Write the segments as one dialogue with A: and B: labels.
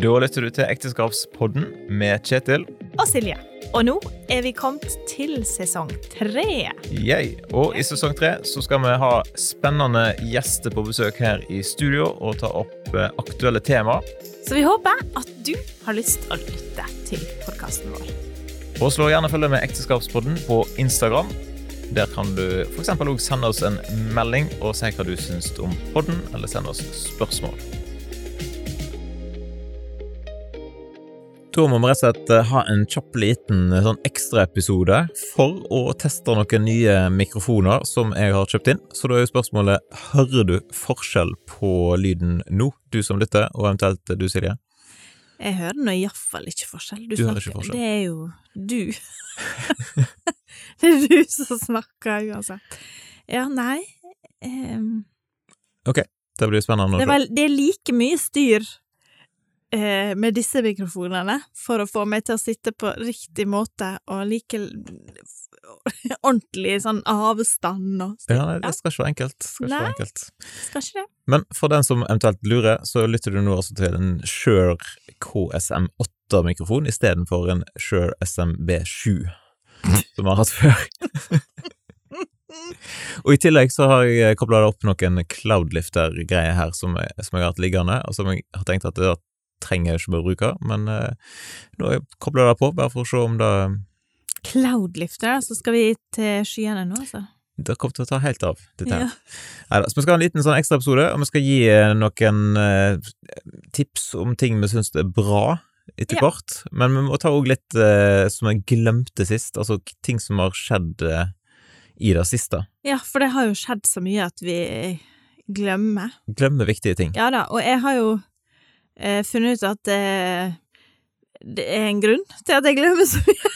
A: Da lytter du til Ekteskapspodden med Kjetil.
B: og Silje. Og nå er vi kommet til sesong tre.
A: Yay. Og i sesong tre så skal vi ha spennende gjester på besøk her i studio og ta opp eh, aktuelle temaer.
B: Så vi håper at du har lyst å lytte til podkasten vår.
A: Og slå gjerne følge med Ekteskapspodden på Instagram. Der kan du f.eks. òg sende oss en melding og si hva du syns om podden, eller sende oss spørsmål. Da må vi rett og slett eh, ha en kjapp liten eh, sånn ekstraepisode for å teste noen nye mikrofoner som jeg har kjøpt inn. Så da er jo spørsmålet hører du forskjell på lyden nå, du som lytter, og eventuelt eh, du, Silje?
B: Jeg hører nå iallfall ikke forskjell.
A: Du hører ikke forskjell.
B: Det er jo du. det er du som snakker uansett. Ja, nei ehm,
A: Det blir spennende. å
B: det, er
A: se.
B: vel, det er like mye styr eh, med disse mikrofonene for å få meg til å sitte på riktig måte og like ordentlig sånn avstand og
A: Ja, nei, det skal ikke være enkelt. Skal ikke
B: Nei.
A: være enkelt.
B: Skal ikke det?
A: Men for den som eventuelt lurer, så lytter du nå altså til en Shure KSM8-mikrofon istedenfor en Shure SMB7, som vi har hatt før. Og i tillegg så har jeg kobla opp noen cloudlifter-greier her som jeg, som jeg har hatt liggende, og som jeg har tenkt at det da trenger jeg ikke å bruke, men eh, nå har jeg kobla det på, bare for å se om det
B: Cloudlifter, så skal vi til skyene nå, altså.
A: det kommer til å ta helt av, dette her.
B: Ja.
A: Neida, så vi skal ha en liten sånn ekstraepisode, og vi skal gi eh, noen eh, tips om ting vi syns er bra etter
B: Ja.
A: hvert. Men vi må ta òg litt eh, som jeg glemte sist, altså k- ting som har skjedd eh, i det siste.
B: ja, for det har jo skjedd så mye at vi glemmer.
A: Glemme viktige ting.
B: Ja da, og jeg har jo eh, funnet ut at eh, det er en grunn til at jeg glemmer så mye.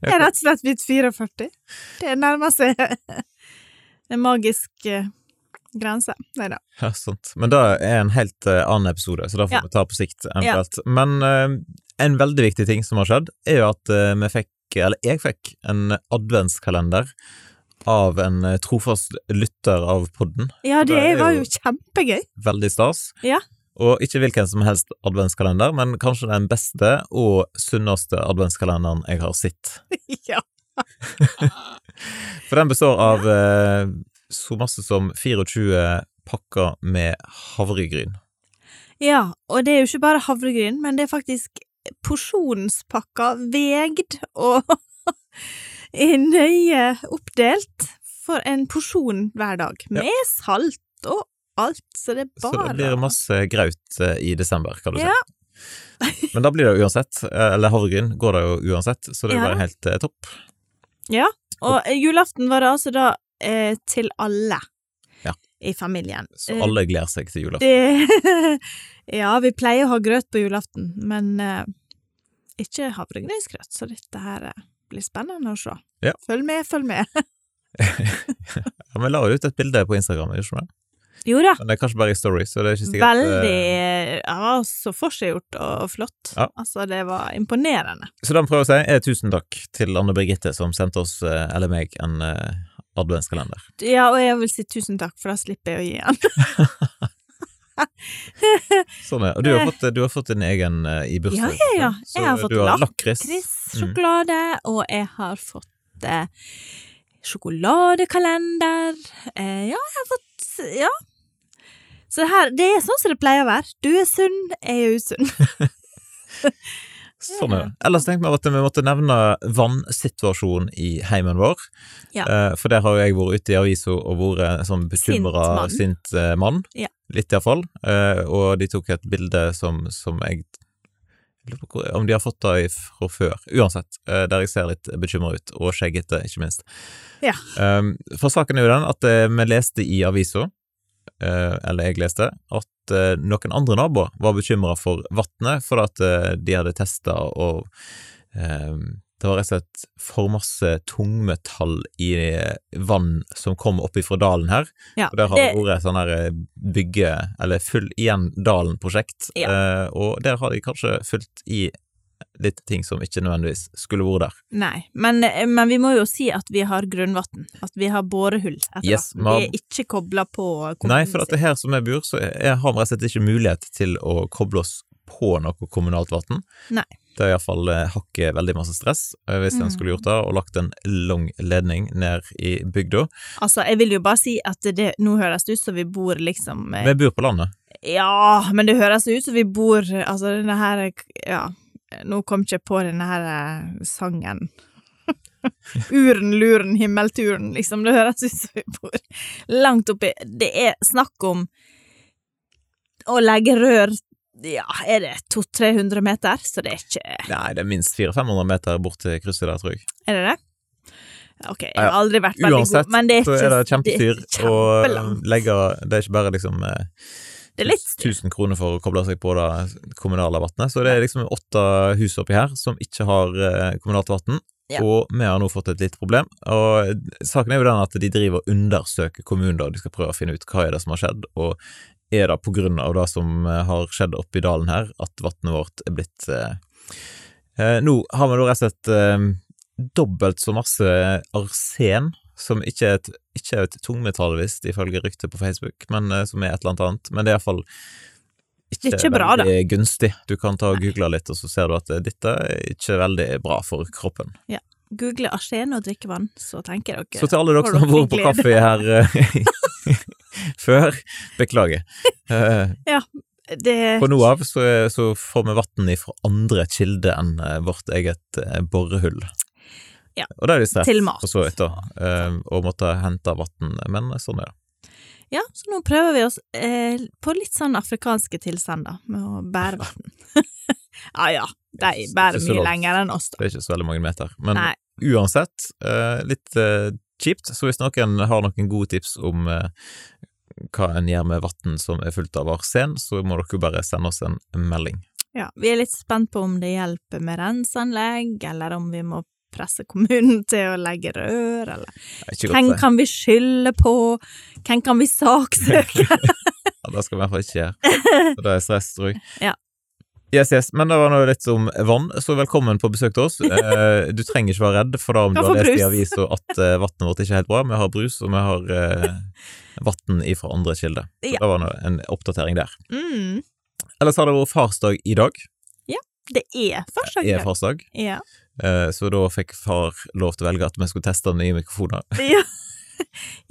B: Jeg er rett og slett blitt 44. Det nærmer seg en magisk eh, grense. Nei da.
A: Ja, sant. Men det er en helt eh, annen episode, så det får
B: Ja.
A: vi ta på sikt. eventuelt. Men eh, en veldig viktig ting som har skjedd, er jo at eh, vi fikk, eller jeg fikk, en adventskalender av en eh, trofast lytter av podden.
B: Ja, det
A: Det er
B: var
A: jo-
B: jo kjempegøy.
A: Veldig stas.
B: Ja.
A: Og ikke hvilken som helst adventskalender, men kanskje den beste og sunneste adventskalenderen jeg har sett.
B: Ja.
A: For den består av eh, så masse som 24 pakker med havregryn.
B: ja, og det er jo ikke bare havregryn, men det er faktisk porsjonspakker vegd og er nøye oppdelt for en porsjon hver dag, med salt og alt, så det er
A: Så
B: bare
A: det blir masse graut eh, i desember, kan du
B: Ja.
A: si. Men da blir det jo uansett. eh, Eller havregryn går det jo uansett, så det er
B: Ja.
A: bare helt eh, topp.
B: Og eh, julaften var det altså da eh, til alle
A: Ja.
B: i familien.
A: Så
B: Eh,
A: alle gleder seg til julaften.
B: Det, ja, vi pleier å ha grøt på julaften, men eh, ikke havregrynsgrøt, så dette her eh, blir spennende å se.
A: Ja.
B: Følg med, følg med.
A: Ja, vi la jo ut et bilde på Instagram, gjorde vi ikke det?
B: Jo da,
A: Men det er kanskje bare i story, så det er ikke sikkert eh,
B: veldig ja, så forseggjort og flott.
A: Ja.
B: Altså, det var imponerende.
A: Så det vi prøver å si, er tusen takk til Anne Birgitte som sendte oss, eh, eller meg, en eh, adventskalender.
B: Ja, og jeg vil si tusen takk, for da slipper jeg å gi han.
A: Sånn er. Og du har fått, du har fått din egen eh, i bursdag.
B: Eh. Ja, ja, ja.
A: sant?
B: Jeg har
A: Så
B: fått
A: du har Mm. lakris.
B: Lakris-sjokolade, og jeg har fått eh, sjokoladekalender. Eh, ja, jeg har fått Ja. Så det her, det er sånn som det pleier å være. Du er sunn, jeg er usunn.
A: Sånn er det. Ellers tenkte vi at vi måtte nevne vannsituasjonen i heimen vår.
B: Ja.
A: Eh, For der har jo jeg vært ute i avisa og vært en sånn bekymra,
B: Sint mann.
A: sint eh, mann.
B: Ja.
A: Litt iallfall. Eh, Og de tok et bilde som, som jeg jeg lurer på hvor- om de har fått det fra før. Uansett, eh, der jeg ser litt bekymra ut, og skjeggete, ikke minst.
B: Ja.
A: Um, For saken er jo den at eh, vi leste i avisa, eh, eller jeg leste, at eh, noen andre naboer var bekymra for vannet, for at eh, de hadde testa og eh, det var rett og slett for masse tungmetall i eh, vann som kom opp ifra dalen her.
B: Ja,
A: og der har det
B: det-
A: vært sånn her eh, bygge, eller Fyll igjen dalen-prosjekt, eh, og der har de kanskje fylt i litt ting som ikke nødvendigvis skulle vært der.
B: Nei, men, eh, men vi må jo si at vi har grunnvann. At vi har borehull etter
A: Yes,
B: vann.
A: vi har-
B: Vi er ikke kobla på
A: Nei, for at det her som jeg bor, så er- har vi rett og slett ikke mulighet til å koble oss på noe kommunalt vann.
B: Nei.
A: Det er iallfall eh, hakket veldig masse stress, eh, hvis en
B: Mm.
A: skulle gjort det, og lagt en lang ledning ned i bygda.
B: Altså, jeg vil jo bare si at det, nå høres det ut som vi bor liksom eh,
A: Vi bor på landet.
B: Ja, men det høres ut som vi bor Altså, denne her Ja, nå kom ikke jeg på denne her eh, sangen. Uren, luren, himmelturen, liksom. Det høres ut som vi bor langt oppi Det er snakk om å legge rør Ja, er det 200-300 meter? Så det er ikke
A: Nei, det er minst 400-500 meter bort til krysset der, tror jeg.
B: Er det det? Ok, jeg
A: Ja,
B: har aldri vært veldig
A: Uansett,
B: god, men det er
A: så
B: ikke
A: er det kjempestyr
B: det er
A: å
B: kjempelangt.
A: legge Det er ikke bare liksom eh,
B: Det er litt
A: 1000 kroner for å koble seg på det kommunale vannet. Så det er liksom åtte hus oppi her som ikke har eh, kommunalt vann.
B: Ja.
A: Og vi har nå fått et lite problem. Og saken er jo den at de driver og undersøker kommunen, da. De skal prøve å finne ut hva er det som har skjedd, og er det på grunn av det som eh, har skjedd oppi dalen her, at vannet vårt er blitt eh, eh, Nå har vi da rett og slett eh, dobbelt så masse arsen, som ikke er et, ikke er et tungmetall, visst, ifølge ryktet på Facebook, men eh, som er et eller annet annet. Men det er iallfall
B: Det er ikke bra, da.
A: veldig gunstig. Du kan ta og google litt, og så ser du at eh, dette er ikke veldig bra for kroppen.
B: Google arsen og drikkevann, så tenker dere
A: Så til alle dere
B: Har
A: som har
B: dere
A: vært på kaffe her eh, før, beklager. Eh,
B: det,
A: På nå av så, er- så får vi vann fra andre kilder enn eh, vårt eget eh, borehull.
B: Ja.
A: Og det er litt stress,
B: Til mat.
A: for så vidt, da, eh, å måtte hente vann, men sånn er det.
B: Ja, så nå prøver vi oss eh, på litt sånn afrikanske tilstander med å bære vann. ja ja, de bærer
A: Ikke så
B: mye
A: langt.
B: lenger enn oss, da.
A: Det er ikke så veldig mange meter. Men
B: Nei.
A: uansett, eh, litt eh, kjipt. Så hvis noen har noen gode tips om eh, hva en gjør med vann som er fullt av arsen, så må dere bare sende oss en melding.
B: Ja, vi er litt spent på om det hjelper med renseanlegg, eller om vi må presse kommunen til å legge rør, eller
A: Det er Ikke
B: Hvem
A: godt, det.
B: kan vi skylde på? Hvem kan vi saksøke?
A: Ja, det skal vi i hvert fall ikke gjøre. For Det er stress, tror jeg.
B: Ja.
A: Yes, yes. Men det var nå litt om vann, så velkommen på besøk til oss. Eh, Du trenger ikke være redd for det om du
B: Ja,
A: har
B: for
A: lest i
B: brus.
A: avisa at eh, vannet vårt ikke er helt bra. Vi har brus, og vi har eh, vann ifra andre kilder. Så
B: Ja.
A: det var nå en oppdatering der.
B: Mm,
A: Ellers har det vært farsdag i dag.
B: det er fortsatt
A: er
B: gøy.
A: farsdag.
B: Ja.
A: Eh, Så da fikk far lov til å velge at vi skulle teste nye mikrofoner.
B: Ja.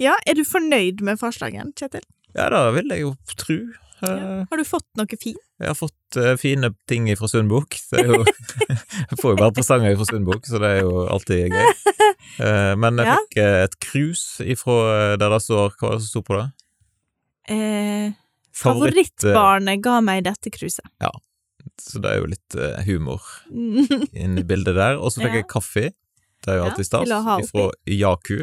B: ja, er du fornøyd med forslagen, Kjetil?
A: Ja, det vil jeg jo tro. Eh,
B: Har du fått noe fint?
A: Jeg har fått eh, fine ting fra Sundbukk. Det er jo Jeg får jo bare presanger fra Sundbukk, så det er jo alltid gøy. Eh, Men jeg
B: Ja.
A: fikk eh, et krus ifra eh, der det står Hva var det som sto på det?
B: Eh,
A: Favoritt, eh,
B: favorittbarnet ga meg dette kruset.
A: Så det er jo litt eh, humor
B: Mm.
A: inni bildet der. Og så fikk
B: Ja.
A: jeg kaffe. Det er jo
B: Ja,
A: alltid
B: til
A: stas.
B: å ha oppi.
A: Ifra Yaku,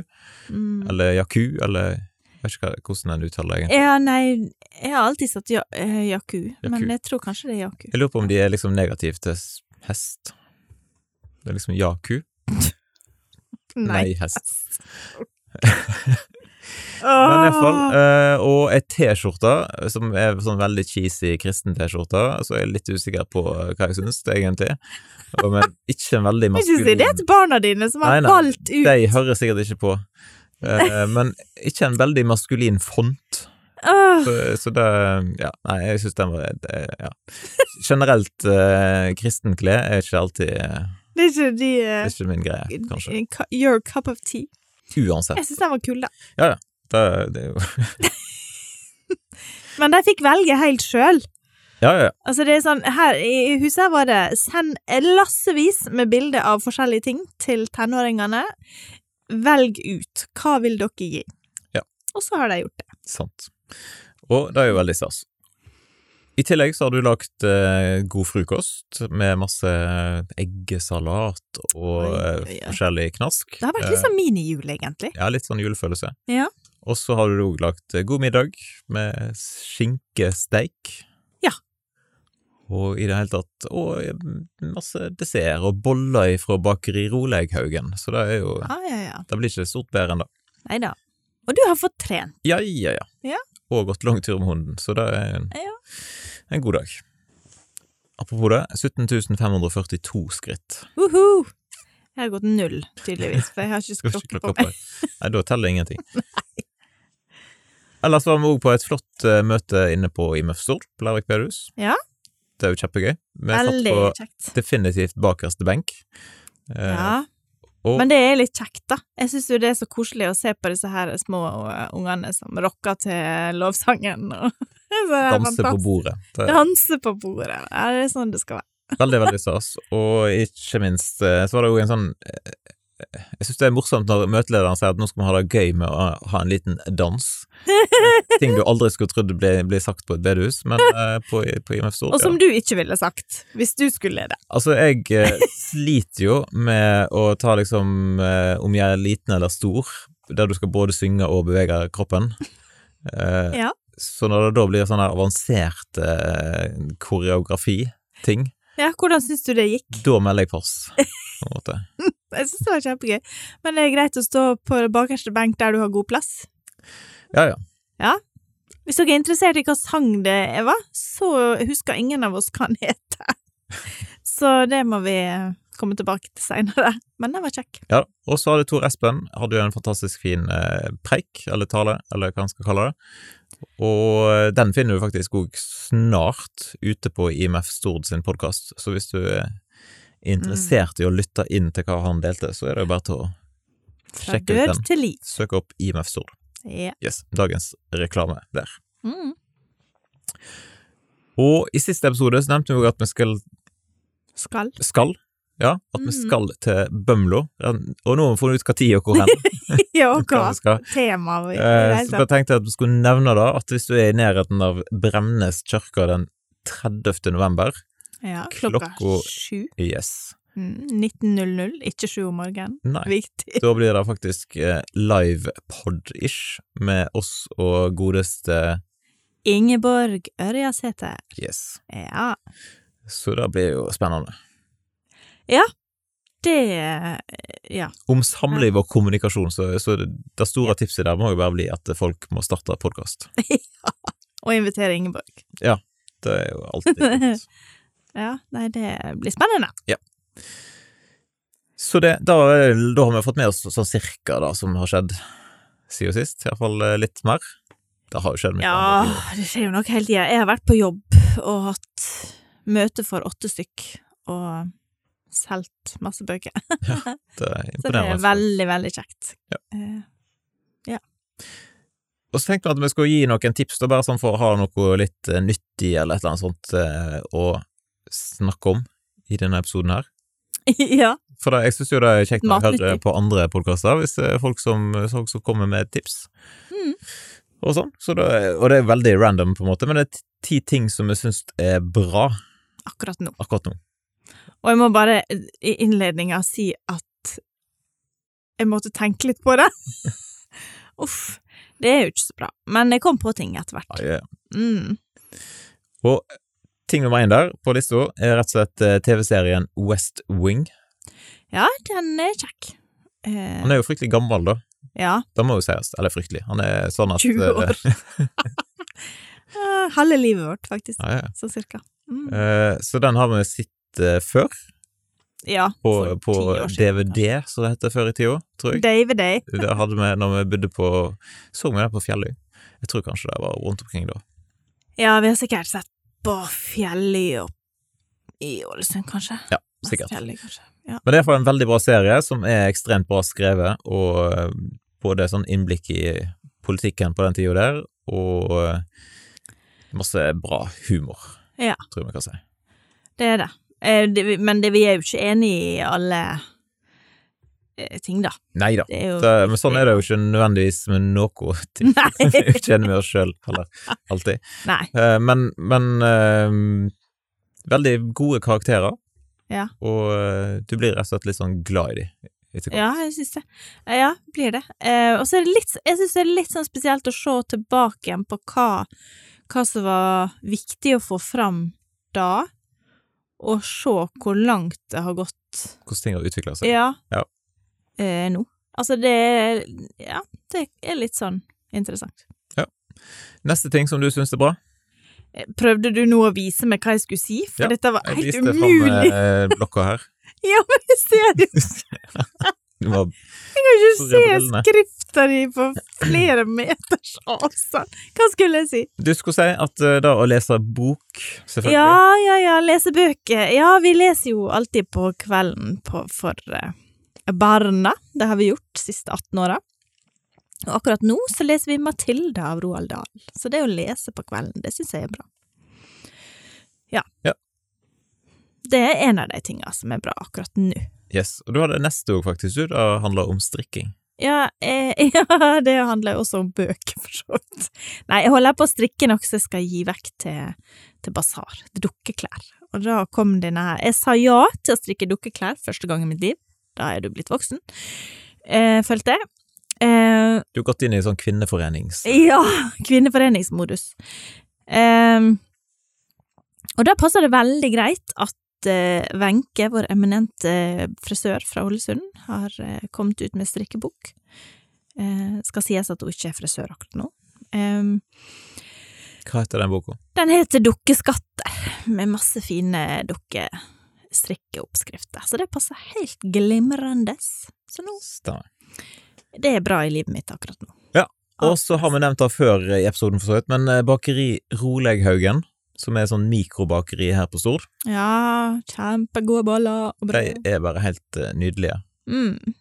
A: eller Yaku, eller jeg vet ikke hva- hvordan en uttaler det egentlig.
B: Ja, nei, jeg har alltid sagt ja, eh, Yaku, men
A: Yaku.
B: jeg tror kanskje det er Yaku.
A: Jeg lurer på om de er liksom negative til s- hest. Det er liksom jaku. Nei, hest. Men i hvert fall, eh, og ei T-skjorte, som er sånn veldig cheesy kristen T-skjorte, så jeg er litt usikker på eh, hva jeg syns, egentlig. Og, men ikke en veldig
B: Kan ikke si det
A: maskulin
B: til barna dine, som har
A: Nei, nei,
B: valgt ut
A: De hører sikkert ikke på. Eh, men ikke en veldig maskulin font.
B: Åh,
A: Så, så det Ja, nei, jeg syns den var det, ja. Generelt eh, kristenklær er ikke alltid eh,
B: Det er ikke de
A: Det
B: eh,
A: er ikke min greie, kanskje.
B: cu- Your cup of tea.
A: Uansett.
B: Jeg syns den var kul, da.
A: Det, det er jo
B: Men de fikk velge helt sjøl.
A: Ja, ja, ja.
B: Altså, det er sånn Her i huset her var det send lassevis med bilder av forskjellige ting til tenåringene. Velg ut. Hva vil dere gi?
A: Ja.
B: Og så har de gjort det.
A: Sant. Og det er jo veldig stas. I tillegg så har du lagt eh, god frokost med masse eggesalat og
B: Oi,
A: eh,
B: ja.
A: forskjellig knask.
B: Det har vært
A: Eh,
B: litt sånn minijul, egentlig.
A: ja, litt sånn julefølelse.
B: Ja.
A: Og så har du òg lagt eh, god middag med skinkesteik.
B: Ja.
A: Og i det hele tatt Og eh, masse dessert og boller fra bakeri Roleighaugen, så det er jo
B: Ja, ja, ja.
A: Det blir ikke stort bedre enn det.
B: Nei da. Og du har fått trent.
A: Ja, ja, ja.
B: Ja.
A: Og gått lang tur med hunden, så det er en,
B: Ja.
A: en god dag. Apropos det, 17 542 skritt.
B: Uhu! Jeg har gått null, tydeligvis, for jeg har ikke
A: Skal ikke
B: klokke på
A: klokka
B: meg.
A: på. Nei, da teller ingenting. Ellers var vi òg på et flott eh, møte inne på i Møfsord, på Lærvik bedehus.
B: Ja.
A: Det er jo kjempegøy. Vi satt
B: Veldig
A: på
B: kjekt.
A: definitivt bakerste benk. Eh,
B: Ja.
A: og-
B: Men det er litt kjekt, da. Jeg syns jo det er så koselig å se på disse her små eh, ungene som rocker til lovsangen og så er det
A: Danse på
B: fantastisk.
A: bordet. Det er
B: Danse på bordet. Ja, det er sånn det skal være.
A: veldig, veldig stas. Og ikke minst eh, så var det jo en sånn eh, Jeg syns det er morsomt når møtelederen sier at nå skal vi ha det gøy med å ha en liten dans. Ting du aldri skulle trodd ble, ble sagt på et bedehus, men eh, på, på IMF Stord.
B: Og som du ikke ville sagt hvis du skulle det.
A: Altså, jeg eh, sliter jo med å ta liksom eh, Om jeg er liten eller stor, der du skal både synge og bevege kroppen. Eh,
B: Ja.
A: Så når det da blir sånn her avansert eh, koreografi-ting,
B: Ja, hvordan syns du det gikk?
A: da melder jeg pass. På en måte.
B: Jeg syns det var kjempegøy. Men det er greit å stå på bakerste benk der du har god plass.
A: Ja, ja.
B: Hvis dere er interessert i hva sang det er, hva, så husker ingen av oss hva den heter. Så det må vi eh, komme tilbake til seinere. Men den var kjekk.
A: ja. Og så hadde Tor Espen hadde jo en fantastisk fin eh, preik, eller tale, eller hva han skal kalle det. Og eh, den finner du faktisk òg snart ute på IMF Stord sin podkast, så hvis du er interessert i å lytte inn til hva han delte, så er det jo bare til å
B: Fra
A: Sjekk ut
B: død
A: den.
B: til liv.
A: søke opp IMF Stord.
B: Ja.
A: Yes, dagens reklame der.
B: Mm.
A: Og i siste episode så nevnte vi jo at vi skal
B: Skal.
A: skal, ja, at vi
B: Mhm.
A: skal til Bømlo, og nå har vi funnet ut hva tid og hvor hen.
B: Ja, og
A: hva
B: hva
A: vi skal.
B: tema vi i det
A: Eh,
B: hele
A: Så jeg
B: tatt.
A: tenkte jeg at vi skulle nevne da, at hvis du er i nærheten av Bremnes kirke den 30. november,
B: Ja, klokka
A: klokka-
B: sju.
A: yes,
B: Mm, 19.00, ikke sju om morgenen.
A: nei,
B: Viktig.
A: da blir det faktisk eh, live pod-ish med oss og godeste
B: Ingeborg Ørjasæter.
A: yes.
B: Ja.
A: Så det blir jo spennende.
B: Det Ja.
A: Om samliv og kommunikasjon, så, så det det store tipset der må jo bare bli at folk må starte podkast.
B: Å invitere Ingeborg.
A: Det er jo alltid godt.
B: Ja, nei, det blir spennende.
A: Så det, da, er- da har vi fått med oss sånn cirka da, som har skjedd siden sist, iallfall eh, litt mer. Det har jo skjedd mye.
B: Ja,
A: annet.
B: det skjer jo nok hele tida. Jeg har vært på jobb og hatt møte for åtte stykk, og solgt masse bøker.
A: Det er
B: Så det er
A: eh, imponerende. altså.
B: veldig, veldig kjekt.
A: Ja.
B: Eh,
A: Og så tenkte vi at vi skulle gi noen tips, da, bare sånn for å ha noe litt eh, nyttig eller et eller annet sånt eh, å snakke om i denne episoden her.
B: Eh, ja.
A: For da, jeg syns jo det er kjekt når jeg
B: Matnyttig.
A: hører på andre podkaster, hvis det er folk som, folk som kommer med tips.
B: Mm.
A: Og sånn. Så det, er- og det er veldig random, på en måte, men det er ti ting som jeg syns er bra
B: Akkurat nå.
A: akkurat nå.
B: Og jeg må bare i innledninga si at jeg måtte tenke litt på det. Uff. Det er jo ikke så bra. Men jeg kom på ting etter hvert.
A: Ja, ja.
B: Mm.
A: Ting nummer én der på lista er rett og slett eh, TV-serien West Wing.
B: Ja, den er kjekk. Eh,
A: Han er jo fryktelig gammel, da.
B: ja.
A: Det må jo sies. Eller fryktelig. Han er sånn at
B: 20 år.
A: eh,
B: Eh, Halve livet vårt, faktisk.
A: Ja, ja.
B: Sånn cirka. Mm.
A: Eh, Så den har vi sett eh, før,
B: ja,
A: på,
B: for
A: på
B: 10 år siden,
A: DVD, som det heter før i tida, tror jeg.
B: kanskje. David Day.
A: Det hadde vi når vi bodde på Så vi det på Fjelløy? Jeg tror kanskje det var rundt omkring da.
B: Ja, vi har sikkert sett på Fjelløy og i Ålesund, kanskje.
A: Ja, sikkert.
B: Fjelløy, kanskje. Ja.
A: Men det er iallfall en veldig bra serie, som er ekstremt bra skrevet, og eh, både sånn innblikk i politikken på den tida der, og eh, masse bra humor,
B: Ja.
A: tror jeg vi kan si.
B: Det er det. Eh, det men det, vi er jo ikke enige i alle eh, ting, da.
A: Nei da.
B: Det er jo
A: Det- Men sånn er det jo ikke nødvendigvis med noe. ting. Vi er
B: Nei.
A: jo ikke enige med oss sjøl, heller. Alltid.
B: Nei.
A: Eh, Men, men eh, Veldig gode karakterer.
B: Ja.
A: Og eh, du blir rett og slett litt sånn glad i dem etter hvert.
B: Ja, jeg syns det. Eh, Ja, blir det. Eh, og så er det litt Jeg syns det er litt sånn spesielt å se tilbake igjen på hva, hva som var viktig å få fram da, og se hvor langt det har gått
A: Hvordan ting har utvikla seg.
B: ja,
A: Ja.
B: Eh, nå. Altså, det er Ja, det er litt sånn interessant.
A: Neste ting som du syns er bra?
B: Eh, Prøvde du nå å vise meg hva jeg skulle si? For
A: Ja,
B: dette var
A: Jeg
B: helt
A: viste fram
B: umulig!
A: eh, blokka her.
B: Ja, men jeg ser jo
A: Det var
B: Jeg kan ikke
A: Sorry,
B: se
A: jeg får brillene.
B: skrifta di på flere meters avstand! Hva skulle jeg si?
A: Du skulle si at eh, da å lese bok, selvfølgelig.
B: Ja, ja, ja, lese bøker. Ja, vi leser jo alltid på kvelden på, for eh, barna. Det har vi gjort de siste 18 åra. Og akkurat nå så leser vi Matilda av Roald Dahl. Så det å lese på kvelden, det syns jeg er bra. Ja.
A: Ja.
B: Det er en av de tinga som er bra akkurat nå.
A: Yes. Og du hadde neste òg, faktisk. Du, det handler om strikking.
B: Ja, eh, ja, det handler jo også om bøker, for så vidt. Nei, jeg holder på å strikke noe som jeg skal gi vekk til, til basar, til dukkeklær. Og da kom denne her. Jeg sa ja til å strikke dukkeklær første gang i mitt liv. Da er du blitt voksen, eh, følte jeg. Eh,
A: Du har gått inn i sånn kvinneforenings...
B: ja, kvinneforeningsmodus. Ehm, og da passer det veldig greit at eh, Wenche, vår eminente eh, frisør fra Ålesund, har eh, kommet ut med strikkebok. Eh, skal sies at hun ikke er frisør akkurat nå. Ehm,
A: Hva heter den boka?
B: den heter Dukkeskatter, med masse fine dukkestrikkeoppskrifter, så det passer helt glimrende. Så nå,
A: Stemmer.
B: det er bra i livet mitt akkurat nå. Ah.
A: Og så har vi nevnt det før i episoden, for så vidt, men eh, bakeri Roleghaugen, som er sånn mikrobakeri her på Stord,
B: Ja, kjempegode boller og
A: de
B: brød.
A: er bare helt eh, nydelige.
B: Mm.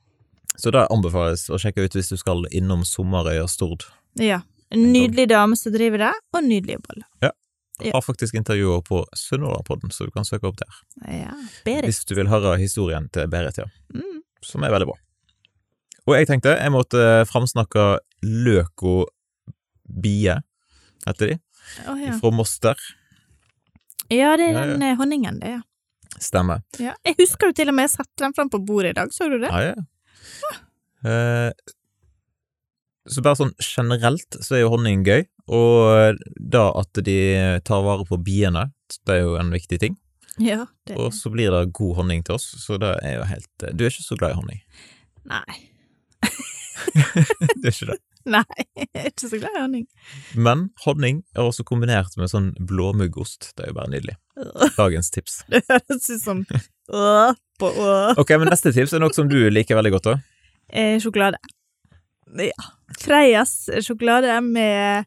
A: Så det anbefales å sjekke ut hvis du skal innom Sommerøya Stord.
B: Ja. En nydelig dame som driver det, og nydelige boller. Ja.
A: Har faktisk intervjuer på Sunnhordlandpodden, så du kan søke opp der.
B: Ja, Berit.
A: Hvis du vil høre historien til Berit, ja.
B: Mm.
A: Som er veldig bra. Og jeg tenkte jeg måtte eh, framsnakke Løko Bie, heter de,
B: Å, ja.
A: fra Moster.
B: ja, det
A: Ja,
B: er
A: ja.
B: den eh, honningen, det, ja.
A: Stemmer.
B: ja. Jeg husker jo til og med jeg satte den fram på bordet i dag, så du det?
A: Ja, ja. Eh, så bare sånn generelt så er jo honning gøy, og eh, da at de tar vare på biene, det er jo en viktig ting.
B: Ja. Det.
A: Og så blir det god honning til oss, så det er jo helt eh, Du er ikke så glad i honning.
B: Nei.
A: Du er ikke det.
B: Nei, jeg er ikke så glad i honning.
A: Men honning er også kombinert med sånn blåmuggost. Det er jo bare nydelig.
B: Øh,
A: Dagens tips.
B: Det høres ut som øh, på øh.
A: Ok, men neste tips er noe som du liker veldig godt, da.
B: Eh, Sjokolade. Ja. Freias sjokolade med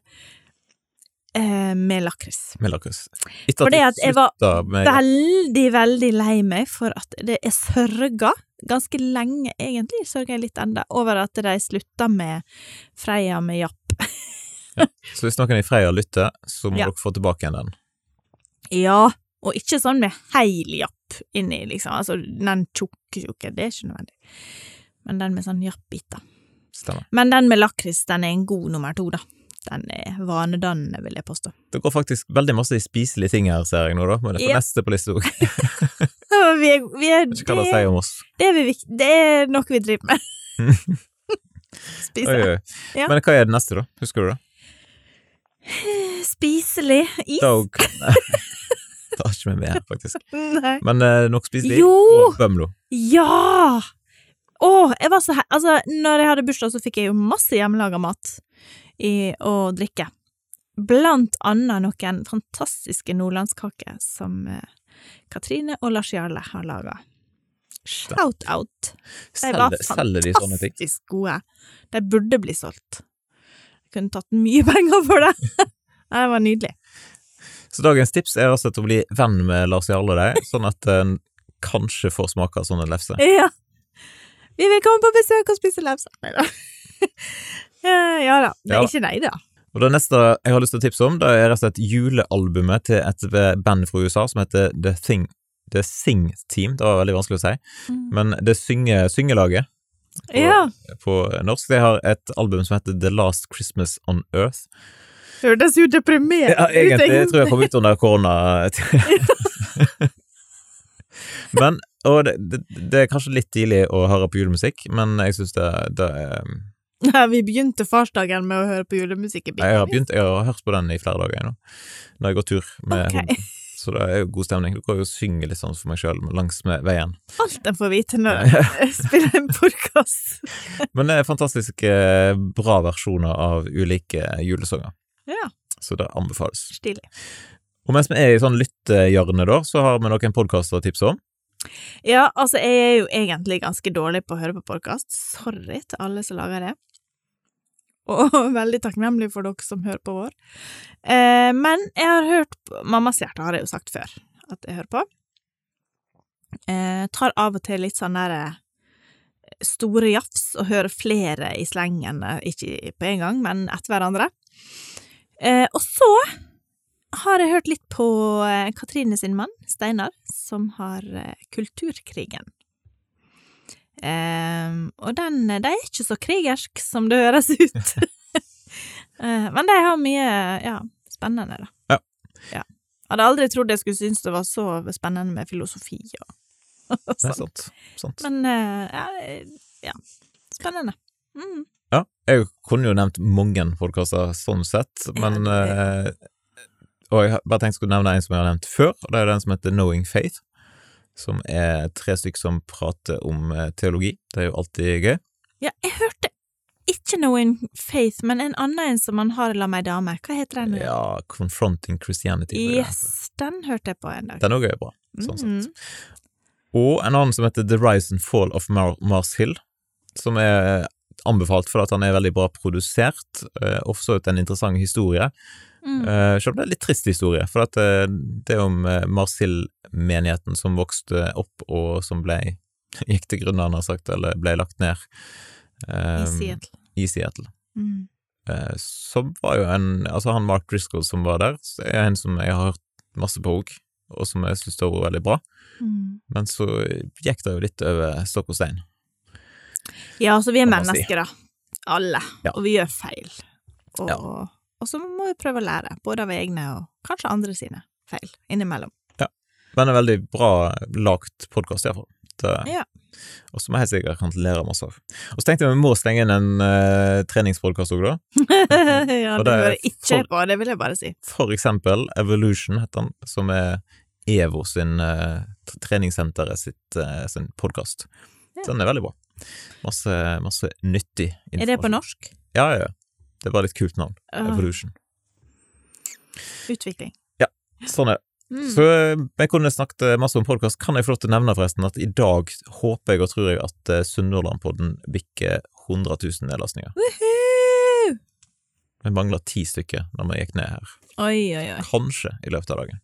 B: eh, med lakris.
A: Med lakris. Etter
B: Fordi at jeg var
A: slutta med
B: veldig, veldig lei meg for at det er sørga, ganske lenge egentlig, sørger jeg litt enda, over at de slutta med Freia med Japp.
A: Så hvis noen i Freia lytter, så må
B: Ja.
A: dere få tilbake igjen den.
B: Ja, og ikke sånn med heil Japp inni, liksom, altså den tjukke, tjukke, det er ikke nødvendig. Men den med sånn Japp-biter.
A: Stemmer.
B: Men den med lakris, den er en god nummer to, da. Den er vanedannende, vil jeg påstå.
A: Det går faktisk veldig masse i spiselige ting her, ser jeg nå, da. Men det er på
B: Ja.
A: neste på lista òg.
B: Vi er, vi er,
A: Ikke hva de sier om oss.
B: det, er vi, vik- det er noe vi driver med.
A: Oi,
B: Spiser.
A: oi.
B: Ja.
A: Men hva er det neste, da? Husker du det?
B: Spiselig is.
A: Da og... Nei. Det har ikke vi med her, faktisk.
B: Nei.
A: Men eh, nok spiselig.
B: Jo!
A: Og Bømlo.
B: Ja! Å, jeg var så he Altså, når jeg hadde bursdag, så fikk jeg jo masse hjemmelaga mat i, og drikke. Blant annet noen fantastiske nordlandskaker som eh, Katrine og Lars Jarle har laga. Shout-out! var
A: Selger, selger de sånne ting?
B: Fantastisk gode. De burde bli solgt. Jeg kunne tatt mye penger for det. Nei, det var nydelig.
A: Så dagens tips er altså å bli venn med Lars Jarle og deg, sånn at en kanskje får smake av sånne lefser.
B: Ja. Vi vil komme på besøk og spise lefse. Nei da. Eh, ja da.
A: Ja
B: Det
A: da.
B: er ikke nei, da.
A: Og det neste jeg har lyst til å tipse om, det er rett og slett julealbumet til et band fra USA som heter The Thing. The Sing Team, det var veldig vanskelig å si,
B: Mm.
A: men det synge, syngelaget
B: Ja.
A: på norsk, de har et album som heter The Last Christmas On Earth.
B: Hørtes jo deprimert
A: Ja, egentlig. Jeg
B: ut.
A: tror jeg kom ut under korona. men, og det, det, det er kanskje litt tidlig å høre på julemusikk, men jeg syns det, det er
B: Nei, vi begynte farsdagen med å høre på julemusikk i bilen.
A: Jeg har begynt, jeg har hørt på den i flere dager nå, når jeg går tur med
B: Ok.
A: hunden. Så det er jo god stemning. Du kan jo synge litt sånn for meg sjøl langs med veien.
B: Alt en får vite når en spiller en podkast.
A: Men det er fantastisk eh, bra versjoner av ulike julesanger,
B: Ja,
A: så det anbefales.
B: stilig.
A: Og mens vi er i sånn lyttehjørne, da, så har vi noen podkaster å tipse om.
B: Ja, altså, jeg er jo egentlig ganske dårlig på å høre på podkast. Sorry til alle som lager det. Og veldig takknemlig for dere som hører på vår. Eh, men jeg har hørt på Mammas hjerte har jeg jo sagt før at jeg hører på. Eh, tar av og til litt sånn derre store jafs og hører flere i slengen, eh, ikke på en gang, men etter hverandre. Eh, og så har jeg hørt litt på eh, Katrine sin mann, Steinar, som har eh, Kulturkrigen. Ehm, og den De er ikke så krigersk som det høres ut. Eh, men de har mye ja, spennende, da.
A: Ja.
B: Ja. Hadde aldri trodd jeg skulle synes det var så spennende med filosofi og, sånn. og
A: Nei,
B: sånt.
A: sant. sant.
B: Men eh, ja, eh, ja. Spennende. Mm.
A: Ja, jeg kunne jo nevnt mange podkaster sånn sett, men
B: Ja,
A: eh, Og jeg har bare tenkt jeg skulle nevne en som jeg har nevnt før, og det er den som heter Knowing Faith. Som er tre stykker som prater om eh, teologi. Det er jo alltid gøy.
B: Ja, jeg hørte ikke noen Faith, men en annen en som han har La meg dame. Hva heter den?
A: Ja, Confronting Christianity. vil jeg hete.
B: Yes, Mm. den hørte jeg på en dag.
A: Den òg er jo bra, sånn sett. Og en annen som heter The Rise and Fall of Mar Mars Hill, som er anbefalt fordi han er veldig bra produsert, eh, og for så vidt en interessant historie.
B: Mm. Mm.
A: Eh, Selv om det er en litt trist historie, for at eh, det er om eh, Marsill-menigheten som vokste opp og som ble gikk til grunne, han har sagt, eller ble lagt ned eh,
B: I Seattle.
A: i Seattle.
B: Mm.
A: Eh, Som var jo en Altså, han Mark Driscoll som var der, så er en som jeg har hørt masse på òg, og som jeg syns har vært veldig bra,
B: Mm.
A: men så gikk det jo litt over stokk og stein.
B: Ja, altså, vi er
A: Kan man si.
B: mennesker, da. Alle.
A: Ja.
B: Og vi gjør feil. Og,
A: Ja.
B: og så må vi prøve å lære, både av egne og kanskje andre sine feil innimellom.
A: Men en veldig bra lagt podkast, iallfall.
B: Ja.
A: Og som jeg helt sikkert kan lære masse av. Og så tenkte jeg vi må slenge inn en uh, treningspodkast òg, da.
B: ja,
A: Og
B: det
A: det er
B: hører ikke
A: for-
B: på, det vil jeg bare si.
A: For eksempel Evolution, heter han, som er EVO sin eh, t- treningssenteret sitt eh, sin podkast.
B: Ja.
A: Den er veldig bra. Masse, masse nyttig informasjon.
B: Er det på norsk? Ah.
A: Ja, ja. ja. Det var et litt kult navn.
B: Åh,
A: Evolution.
B: utvikling.
A: Sånn er det.
B: Mm.
A: Så eh, jeg kunne snakket masse om podkast. Kan jeg få lov til å nevne forresten at i dag håper jeg og tror jeg at eh, Sunnhordlandpodden bikker 100 000 nedlastninger.
B: Woohoo!
A: Vi mangler ti stykker når vi gikk ned her.
B: Oi, oi, oi.
A: Kanskje i løpet av dagen.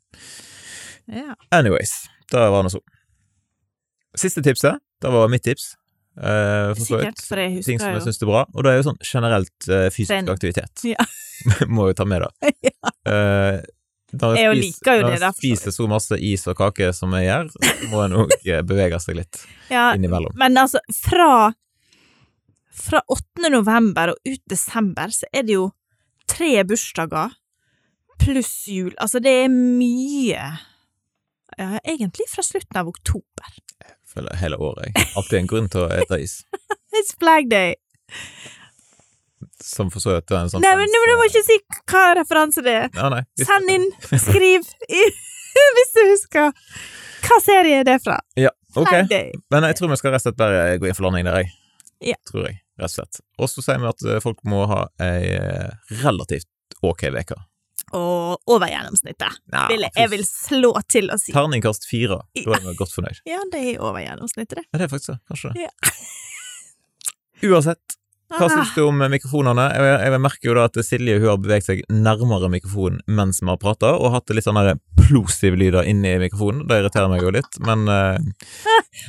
B: Ja.
A: Anyways, det var nå så. Siste tipset, det var mitt tips. eh, for så vidt.
B: Sikkert, for jeg
A: Ting som
B: husker
A: jeg
B: jo.
A: syns er bra. Og det er jo sånn generelt eh, fysisk
B: Trening.
A: aktivitet.
B: Ja.
A: Må jo ta med det. Eh, når
B: Jeg jo
A: spis-
B: liker jo
A: når
B: det
A: jeg
B: der, for så
A: spiser så masse is og kake som jeg gjør, så må jeg nok eh, bevege seg litt
B: Ja,
A: innimellom.
B: Men altså, fra, fra 8. november og ut desember, så er det jo tre bursdager pluss jul. Altså, det er mye. Ja, egentlig fra slutten av oktober.
A: Føler hele året. jeg. Alltid en grunn til å ete is.
B: It's flag day!
A: Som for så vidt er en sånn
B: Nei, men du må ikke si hva referanse det er.
A: ja, nei, hvis-
B: Send inn, skriv, i, hvis du husker. Hva serie er det fra?
A: Ja, ok.
B: Flag Day.
A: Men jeg tror vi skal rett og slett bare gå inn for landing der, jeg.
B: Ja.
A: Tror jeg, rett og slett. Og så sier vi at eh, folk må ha ei eh, relativt ok uke.
B: Og over gjennomsnittet. Vil jeg, jeg vil slå til å si.
A: Terningkast fire. Da er vi godt fornøyd.
B: Ja, det er over gjennomsnittet, det.
A: Ja, det er faktisk det, kanskje. det.
B: Ja.
A: Uansett, hva
B: Ah.
A: syns du om eh, mikrofonene? Jeg, jeg merker jo da at Silje hun har beveget seg nærmere mikrofonen mens vi har prata, og hatt litt sånn sånne plosive lyder inni mikrofonen. Det irriterer meg jo litt, men eh,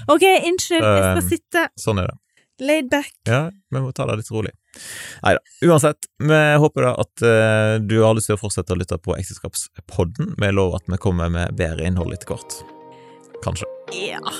B: Ok, unnskyld, jeg skal
A: Um,
B: sitte
A: sånn er det.
B: laid back.
A: Ja, vi må ta det litt rolig. Nei da. Uansett, vi håper da at eh, du har lyst til å fortsette å lytte på Ekteskapspodden. Vi lover at vi kommer med bedre innhold etter hvert. Kanskje.
B: Ja.